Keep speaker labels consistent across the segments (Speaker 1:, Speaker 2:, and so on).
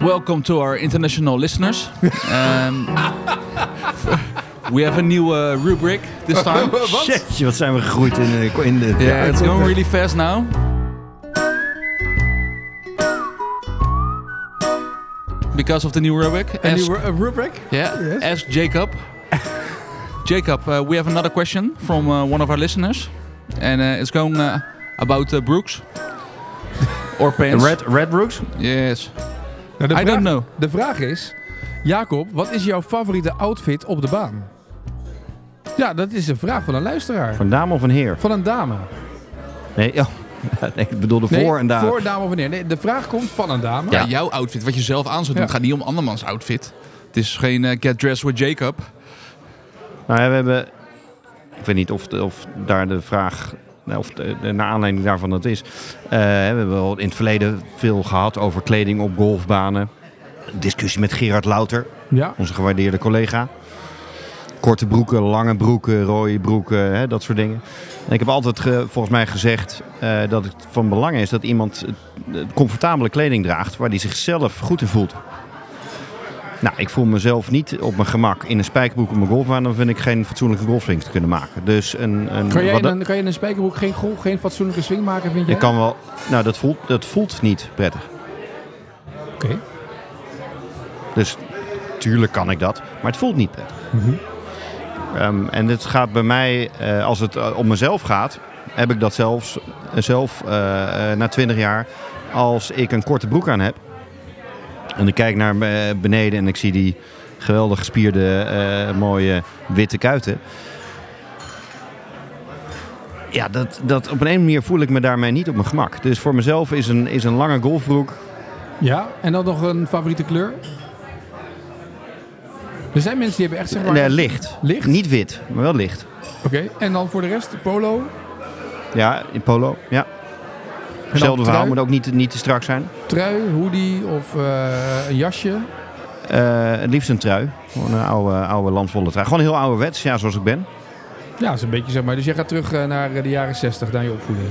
Speaker 1: Welcome to our international listeners. Um, we have a new uh, rubric this time.
Speaker 2: Shitje, wat zijn we gegroeid in de... In de
Speaker 1: Yeah, it's going really fast now. Because of the new rubric.
Speaker 2: Een
Speaker 1: Ask-
Speaker 2: nieuwe eh, rubric?
Speaker 1: Yeah.
Speaker 2: Yes.
Speaker 1: Ask Jacob. Jacob, uh, we have another question from uh, one of our listeners, and uh, it's going uh, about uh, Brooks or pants.
Speaker 2: Red, Red Brooks?
Speaker 1: Yes.
Speaker 3: Nou, de,
Speaker 1: I don't
Speaker 3: vraag,
Speaker 1: know.
Speaker 3: de vraag is, Jacob, wat is jouw favoriete outfit op de baan? Ja, dat is een vraag van een luisteraar.
Speaker 2: Van dame of een heer?
Speaker 3: Van een dame.
Speaker 2: Nee, oh, nee ik bedoelde
Speaker 3: Nee,
Speaker 2: voor en daar.
Speaker 3: Voor een dame of een heer. Nee, de vraag komt van een dame.
Speaker 1: Ja. jouw outfit, wat je zelf aan zou doen,
Speaker 3: Ja.
Speaker 1: het gaat niet om andermans outfit. Het is geen eh, get dressed with Jacob.
Speaker 2: Nou ja, we hebben... Ik weet niet of, de- of daar de vraag... nou, Of de, de- naar aanleiding daarvan dat is. Eh, we hebben al in het verleden veel gehad over kleding op golfbanen. Een discussie met Gerard Louter,
Speaker 3: Ja.
Speaker 2: onze gewaardeerde collega. Korte broeken, lange broeken, rode broeken, hè, dat soort dingen. En ik heb altijd ge- volgens mij gezegd eh, dat het van belang is dat iemand eh, comfortabele kleding draagt waar hij zichzelf goed in voelt. Nou, ik voel mezelf niet op mijn gemak in een spijkerbroek op mijn golfbaan. Dan vind ik geen fatsoenlijke golfswing te kunnen maken. Dus een, een,
Speaker 3: Kan jij,
Speaker 2: wat-
Speaker 3: in een, kan je in een spijkerbroek geen, gro- geen fatsoenlijke swing maken, vind jij?
Speaker 2: ik kan wel. Nou, dat voelt, dat voelt niet prettig.
Speaker 3: Oké.
Speaker 2: Dus tuurlijk kan ik dat, maar het voelt niet prettig.
Speaker 3: Mhm.
Speaker 2: Ehm, en het gaat bij mij, eh, als het eh, om mezelf gaat, heb ik dat zelfs, zelf eh, eh, na 20 jaar. Als ik een korte broek aan heb en ik kijk naar eh, beneden en ik zie die geweldig gespierde, eh, mooie witte kuiten. Ja, dat, dat, op een ene manier voel ik me daarmee niet op mijn gemak. Dus voor mezelf is een, is een lange golfbroek
Speaker 3: Ja, en dan nog een favoriete kleur? Er zijn mensen die hebben echt zeg maar...
Speaker 2: nee, licht.
Speaker 3: Licht?
Speaker 2: Niet wit, maar wel licht.
Speaker 3: Oké, en dan voor de rest polo,
Speaker 2: Ja, in polo. Ja. Hetzelfde verhaal,
Speaker 3: trui?
Speaker 2: moet ook niet, niet te strak zijn.
Speaker 3: trui, hoodie of eh, een jasje.
Speaker 2: Eh, het liefst een trui. Gewoon een oude, oude landvolle trui. Gewoon heel ouderwets, ja, zoals ik ben.
Speaker 3: Ja, dat is een beetje zeg maar. Dus jij gaat terug eh, naar eh, de jaren 60, naar je opvoeding.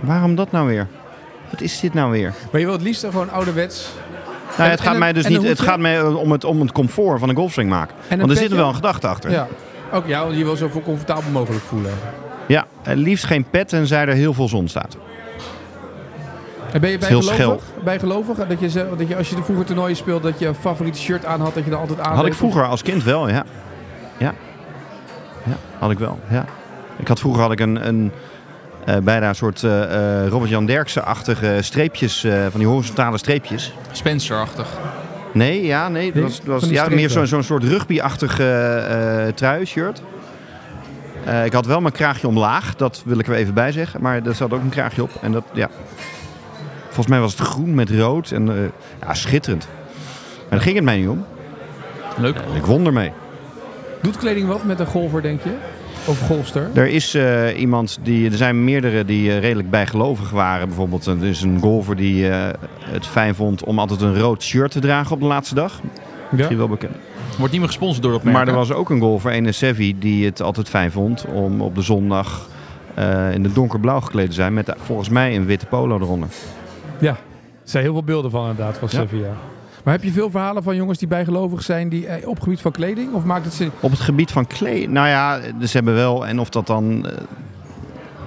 Speaker 2: Waarom dat nou weer? Wat is dit nou weer?
Speaker 3: Maar je wilt het liefst gewoon ouderwets.
Speaker 2: Nou, ja, het
Speaker 3: en
Speaker 2: gaat
Speaker 3: een-
Speaker 2: mij dus
Speaker 3: en een
Speaker 2: niet het
Speaker 3: hoedje?
Speaker 2: gaat mij om het, om het comfort van een golfswing maken.
Speaker 3: een
Speaker 2: Want er zit
Speaker 3: petje?
Speaker 2: er wel een gedachte achter. Ja.
Speaker 3: Ja. Ook ja, want je wil zo voor comfortabel mogelijk voelen.
Speaker 2: het liefst geen pet tenzij er heel veel zon staat.
Speaker 3: En ben je
Speaker 2: heel
Speaker 3: bijgelovig? Bijgelovig? eh, Dat je, ze- dat je als je de vroeger toernooien speelt, dat je een favoriete shirt aan had, dat je dat altijd aan
Speaker 2: Had ik vroeger als kind wel, ja. Ja, ja had ik wel, ja. Ik had vroeger had ik een, een eh, bijna een soort eh, eh, Robert-Jan Derksen-achtige streepjes, eh, van die horizontale streepjes.
Speaker 1: Spencer-achtig.
Speaker 2: Nee, ja, nee. Dat
Speaker 3: Nee,
Speaker 2: was, dat was
Speaker 3: van die
Speaker 2: ja,
Speaker 3: strepen.
Speaker 2: meer zo'n zo'n soort rugby-achtig eh, eh, trui-shirt. Eh, ik had wel mijn kraagje omlaag, dat wil ik er even bij zeggen. Maar er zat ook een kraagje op. En dat, ja. Volgens mij was het groen met rood. En, eh, ja, schitterend. Maar daar ging het mij niet om.
Speaker 1: Leuk.
Speaker 2: Ik won ermee.
Speaker 3: Doet kleding wat met een golfer, denk je? Of golfster?
Speaker 2: Er is eh, iemand die. Er zijn meerdere die eh, redelijk bijgelovig waren. Bijvoorbeeld, eh, er is een golfer die eh, het fijn vond om altijd een rood shirt te dragen op de laatste dag.
Speaker 3: Ja.
Speaker 2: Misschien wel bekend.
Speaker 1: Wordt niet meer gesponsord door dat merk.
Speaker 2: Maar er was ook een golfer, Ene Sevi, die het altijd fijn vond om op de zondag eh, in het donkerblauw gekleed te zijn. Met eh, volgens mij een witte polo eronder.
Speaker 3: Ja. Er zijn heel veel beelden van inderdaad, van
Speaker 2: Ja.
Speaker 3: Sevilla. Maar heb je veel verhalen van jongens die bijgelovig zijn die, eh, op gebied van kleding? Of maakt het ze...
Speaker 2: Op het gebied van kleding, nou ja, ze hebben wel. En of dat dan. eh,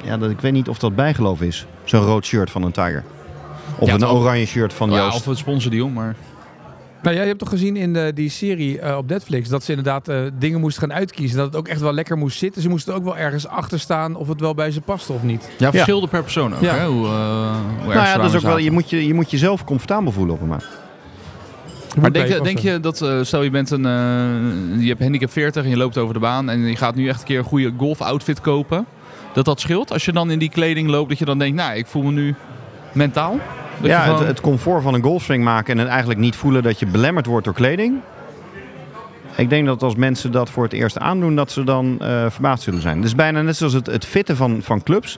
Speaker 2: ja, dat, ik weet niet of dat bijgeloof is. Zo'n rood shirt van een Tiger. Of
Speaker 1: Ja,
Speaker 2: een
Speaker 1: toch?
Speaker 2: oranje shirt van
Speaker 1: ja,
Speaker 2: Joost.
Speaker 1: of we sponsoren die om, maar...
Speaker 3: Nou, jij hebt toch gezien in de, die serie eh, op Netflix dat ze inderdaad eh, dingen moesten gaan uitkiezen. Dat het ook echt wel lekker moest zitten. Ze moesten ook wel ergens achter staan of het wel bij ze paste of niet.
Speaker 1: Ja, verschilde per persoon ook,
Speaker 3: Ja.
Speaker 1: hè? Hoe, eh, hoe erg ze
Speaker 2: nou ja, dat is
Speaker 1: eraan
Speaker 2: ook wel,
Speaker 1: zaten.
Speaker 2: je, moet je, je moet jezelf comfortabel voelen op een maat.
Speaker 1: Maar denk, je- denk je dat, eh, stel je bent een, eh, je hebt handicap 40 en je loopt over de baan en je gaat nu echt een keer een goede golf outfit kopen, dat dat scheelt? Als je dan in die kleding loopt, dat je dan denkt, nou, ik voel me nu mentaal. Dat
Speaker 2: Ja,
Speaker 1: je gewoon-
Speaker 2: het, het comfort van een golfswing maken en het eigenlijk niet voelen dat je belemmerd wordt door kleding. Ik denk dat als mensen dat voor het eerst aandoen, dat ze dan eh, verbaasd zullen zijn. Het is bijna net zoals het, het fitten van, van clubs.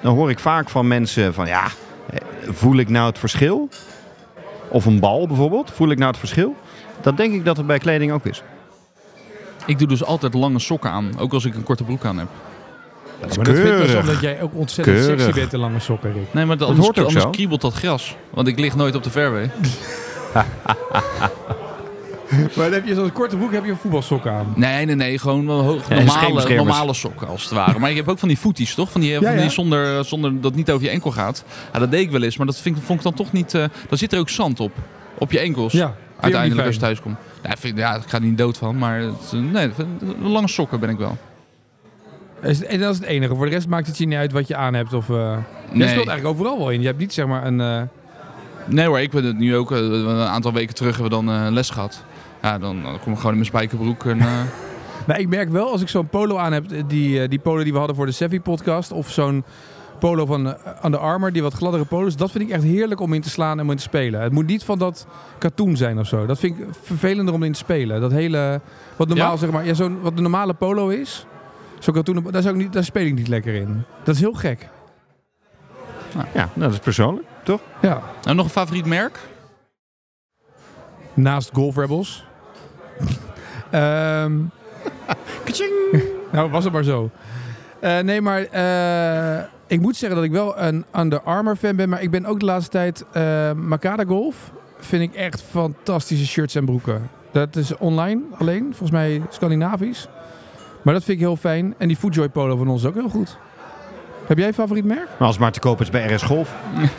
Speaker 2: Dan hoor ik vaak van mensen van ja, eh, voel ik nou het verschil? Of een bal bijvoorbeeld, voel ik nou het verschil? Dat denk ik dat het bij kleding ook is.
Speaker 1: Ik doe dus altijd lange sokken aan, ook als ik een korte broek aan heb.
Speaker 2: Dat
Speaker 3: Maar dat vind ik dus omdat jij ook ontzettend
Speaker 2: Keurig.
Speaker 3: sexy bent in lange sokken, Rick.
Speaker 1: Nee, maar dat
Speaker 2: Dat
Speaker 1: anders,
Speaker 2: hoort ook
Speaker 1: anders
Speaker 2: zo.
Speaker 1: kriebelt dat gras, want ik lig nooit op de fairway.
Speaker 3: Maar dan heb je zo'n korte broek, heb je een voetbalsok aan.
Speaker 1: Nee, nee, nee. Gewoon wel hoog-
Speaker 2: Ja,
Speaker 1: normale,
Speaker 2: schermbeschermers.
Speaker 1: normale sokken als het ware. Maar je hebt ook van die footies, toch? Van die, eh, van
Speaker 3: ja.
Speaker 1: die zonder, zonder dat het niet over je enkel gaat. Ja, dat deed ik wel eens, maar dat vind, ik- vond ik dan toch niet... eh dan zit er ook zand op. Op je enkels.
Speaker 3: Ja,
Speaker 1: uiteindelijk als je
Speaker 3: vind je ook
Speaker 1: thuis komt. Ja, ik vind, ja, ik ga er niet dood van, maar het- nee, lange sokken ben ik wel.
Speaker 3: niet fijn. Is- En dat is het enige. Voor de rest maakt het je niet uit wat je aan hebt. Of, eh Je
Speaker 1: Nee.
Speaker 3: speelt eigenlijk overal wel in. Je hebt niet zeg maar een... eh,
Speaker 1: Nee hoor, ik ben het nu ook. eh, een aantal weken terug hebben we dan eh, les gehad. Ja, dan eh, kom ik gewoon in mijn spijkerbroek. En, eh,
Speaker 3: Maar ik merk wel, als ik zo'n polo aan heb, eh, die, eh, die polo die we hadden voor de Sevi-podcast, of zo'n polo van aan de Armour, die wat gladdere polo's, dat vind ik echt heerlijk om in te slaan en om in te spelen. Het moet niet van dat katoen zijn of zo. Dat vind ik vervelender om in te spelen. Dat hele, wat normaal
Speaker 1: Ja?
Speaker 3: zeg maar, ja, zo'n, wat de normale polo is, zo'n katoenen, daar, zou ik niet, daar speel ik niet lekker in. Dat is heel gek.
Speaker 2: Ja, nou, dat is persoonlijk, toch?
Speaker 3: Ja.
Speaker 1: nou, nog een favoriet merk?
Speaker 3: Naast Golf Rebels. Ehm, nou, was het maar zo. Eh, nee, maar eh, ik moet zeggen dat ik wel een Under Armour fan ben. Maar ik ben ook de laatste tijd eh Makada Golf. Vind ik echt fantastische shirts en broeken. Dat is online alleen, volgens mij Scandinavisch. Maar dat vind ik heel fijn. En die Foodjoy polo van ons is ook heel goed. Heb jij een favoriet merk?
Speaker 2: Maar als het maar te koop is bij RS Golf.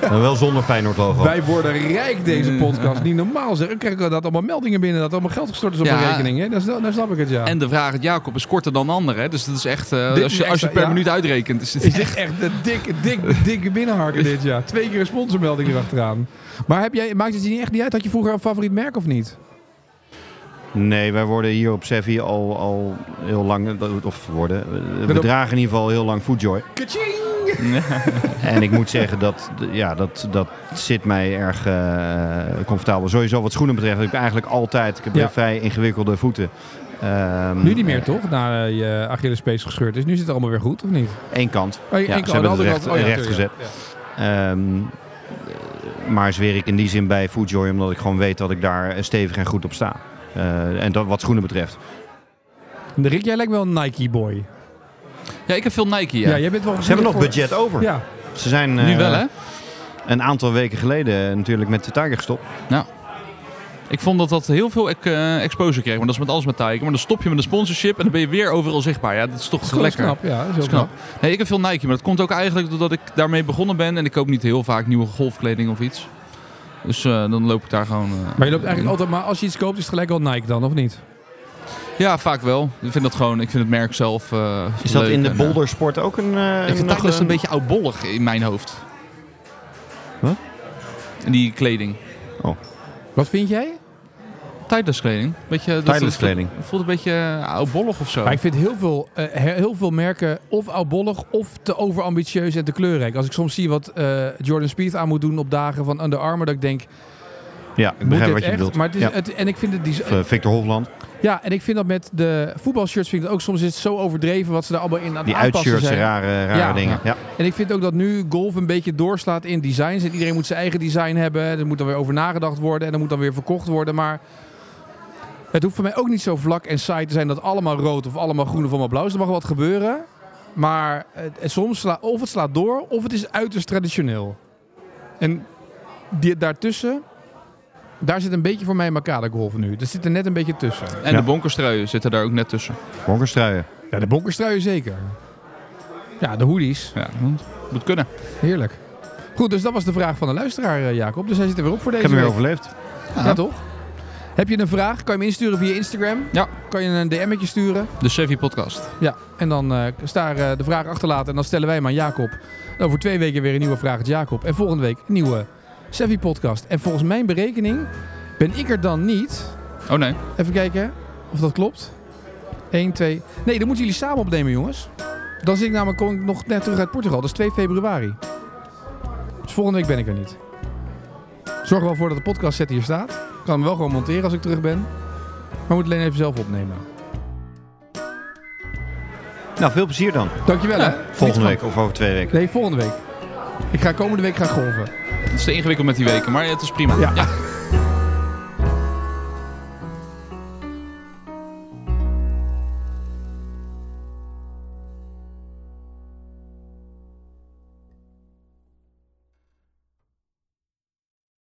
Speaker 2: Dan wel zonder Feyenoord logo.
Speaker 3: Wij worden rijk
Speaker 1: Mm.
Speaker 3: deze podcast. Niet normaal zeg. Dan krijg ik dat allemaal meldingen binnen. Dat allemaal geld gestort is op
Speaker 1: Ja.
Speaker 3: mijn rekening. Hè? Dan, dan snap ik het ja.
Speaker 1: En de vraag, het Jacob is korter dan de andere. hè? Dus dat is echt, eh,
Speaker 3: Dit
Speaker 1: als, je, als
Speaker 3: is
Speaker 1: je
Speaker 3: extra,
Speaker 1: het per
Speaker 3: ja.
Speaker 1: minuut uitrekent. Is het
Speaker 3: Is echt, echt een dik, dik, dik binnenharken dit jaar. Twee keer een sponsormelding erachteraan. Maar heb jij, maakt het je niet echt niet uit? Had je vroeger een favoriet merk of niet?
Speaker 2: Nee, wij worden hier op Sevi al, al heel lang, of worden, eh, we
Speaker 3: op-
Speaker 2: dragen in ieder geval heel lang Foodjoy.
Speaker 3: Kaching!
Speaker 2: En ik moet zeggen dat, d- ja, dat, dat zit mij erg eh, comfortabel. Sowieso wat schoenen betreft heb ik eigenlijk altijd, ik heb
Speaker 3: Ja.
Speaker 2: vrij ingewikkelde voeten. Ehm,
Speaker 3: Nu niet meer toch? Na eh, je Achillespees gescheurd is. Nu zit het allemaal weer goed, of niet?
Speaker 2: Eén kant.
Speaker 3: Oh, je
Speaker 2: Ja,
Speaker 3: enkel-
Speaker 2: ze
Speaker 3: oh, de
Speaker 2: hebben het
Speaker 3: andere
Speaker 2: recht,
Speaker 3: kant. Oh, ja,
Speaker 2: recht gezet.
Speaker 3: natuurlijk,
Speaker 2: Ehm, maar zweer ik in die zin bij Foodjoy, omdat ik gewoon weet dat ik daar eh, stevig en goed op sta. Eh, en dat wat schoenen betreft.
Speaker 3: ja. Rick, jij lijkt wel een Nike-boy.
Speaker 1: ja, ik heb veel Nike,
Speaker 3: Ja.
Speaker 1: ja.
Speaker 3: jij bent wel
Speaker 2: Ze hebben nog
Speaker 3: gevoelig
Speaker 2: budget over.
Speaker 3: voor- Ja,
Speaker 2: Ze zijn eh,
Speaker 1: nu wel, hè?
Speaker 2: een aantal weken geleden eh, natuurlijk met de Tiger gestopt.
Speaker 1: Ik vond dat dat heel veel ek- eh, exposure kreeg. Maar dat is met alles met Tiger. Maar dan stop je met een sponsorship en dan ben je weer overal zichtbaar. Ja, dat is toch
Speaker 3: dat is wel
Speaker 1: lekker.
Speaker 3: knap. Ja, dat is heel
Speaker 1: Dat is knap.
Speaker 3: knap.
Speaker 1: Nee, ik heb veel Nike, maar dat komt ook eigenlijk doordat ik daarmee begonnen ben. En ik koop niet heel vaak nieuwe golfkleding of iets. Dus eh, dan loop ik daar gewoon... eh,
Speaker 3: Maar je loopt eigenlijk
Speaker 1: in.
Speaker 3: altijd, maar als je iets koopt, is het gelijk al Nike dan, of niet?
Speaker 1: Ja, vaak wel. Ik vind dat gewoon, ik vind het merk zelf eh,
Speaker 2: Is dat
Speaker 1: leuk
Speaker 2: in de
Speaker 1: en, eh,
Speaker 2: bouldersport ook een... eh,
Speaker 1: Ik vind
Speaker 2: nog
Speaker 1: dat is
Speaker 2: een-
Speaker 1: een beetje oudbollig in mijn hoofd.
Speaker 2: Wat?
Speaker 1: In die kleding.
Speaker 3: Wat vind jij?
Speaker 1: Tijdens kleding. Beetje, dat-
Speaker 2: Tijdens kleding.
Speaker 1: Het voelt een beetje eh, oudbollig of zo.
Speaker 3: Maar ik vind heel veel, eh, he- heel veel merken of oudbollig of te overambitieus en te kleurrijk. Als ik soms zie wat eh, Jordan Speed aan moet doen op dagen van Under Armour, dat ik denk,
Speaker 2: Ja, ik
Speaker 3: moet dit
Speaker 2: begrijp wat je
Speaker 3: echt?
Speaker 2: bedoelt.
Speaker 3: Maar het is,
Speaker 2: Ja.
Speaker 3: het, en ik vind het, die,
Speaker 2: Of, eh, Victor Hofland,
Speaker 3: ja, en ik vind dat met de voetbalshirts vind ik dat ook soms is het zo overdreven wat ze daar allemaal in aan het
Speaker 2: die
Speaker 3: aanpassen
Speaker 2: uitshirts,
Speaker 3: zijn.
Speaker 2: rare, rare
Speaker 3: Ja.
Speaker 2: dingen. Ja.
Speaker 3: En ik vind ook dat nu golf een beetje doorslaat in designs. En iedereen moet zijn eigen design hebben. Er moet dan weer over nagedacht worden. En er moet dan weer verkocht worden. Maar het hoeft voor mij ook niet zo vlak en saai te zijn dat allemaal rood of allemaal groen of allemaal blauw is. Er mag wat gebeuren. Maar eh, soms sla, of het slaat door of het is uiterst traditioneel. En die, daartussen, daar zit een beetje voor mij Makada golf nu. Er zit er net een beetje tussen.
Speaker 1: En
Speaker 2: Ja.
Speaker 1: de bonkerstruien zitten daar ook net tussen.
Speaker 2: Bonkerstruien.
Speaker 3: Ja, de bonkerstruien zeker. Ja, de hoodies.
Speaker 1: Ja, dat moet kunnen.
Speaker 3: Heerlijk. Goed, dus dat was de vraag van de luisteraar, eh, Jacob. Dus hij zit er weer op voor
Speaker 2: Ik
Speaker 3: deze
Speaker 2: heb hem weer
Speaker 3: week.
Speaker 2: overleefd.
Speaker 3: Ja, toch? Heb je een vraag? Kan je hem insturen via Instagram?
Speaker 1: Ja.
Speaker 3: Kan je een DM'tje sturen?
Speaker 1: De Sevi podcast.
Speaker 3: Ja. En dan eh is daar eh, de vraag achterlaten. En dan stellen wij hem aan Jacob. En over twee weken weer een nieuwe vraag aan Jacob. En volgende week een nieuwe Sevi podcast. En volgens mijn berekening ben ik er dan niet.
Speaker 1: Oh nee.
Speaker 3: Even kijken of dat klopt. 1, 2. Nee, dan moeten jullie samen opnemen, jongens. Dan zit ik namelijk kom ik nog net terug uit Portugal. Dat is 2 februari. Dus volgende week ben ik er niet. Zorg er wel voor dat de podcast set hier staat. Ik kan hem wel gewoon monteren als ik terug ben. Maar moet alleen even zelf opnemen.
Speaker 2: Nou, veel plezier dan.
Speaker 3: Dankjewel, hè.
Speaker 2: Volgende
Speaker 3: Niet
Speaker 2: week of over twee weken.
Speaker 3: van- Nee, volgende week. Ik ga komende week gaan golven.
Speaker 1: Het is te ingewikkeld met die weken, maar het is prima.
Speaker 3: Ja.
Speaker 1: ja.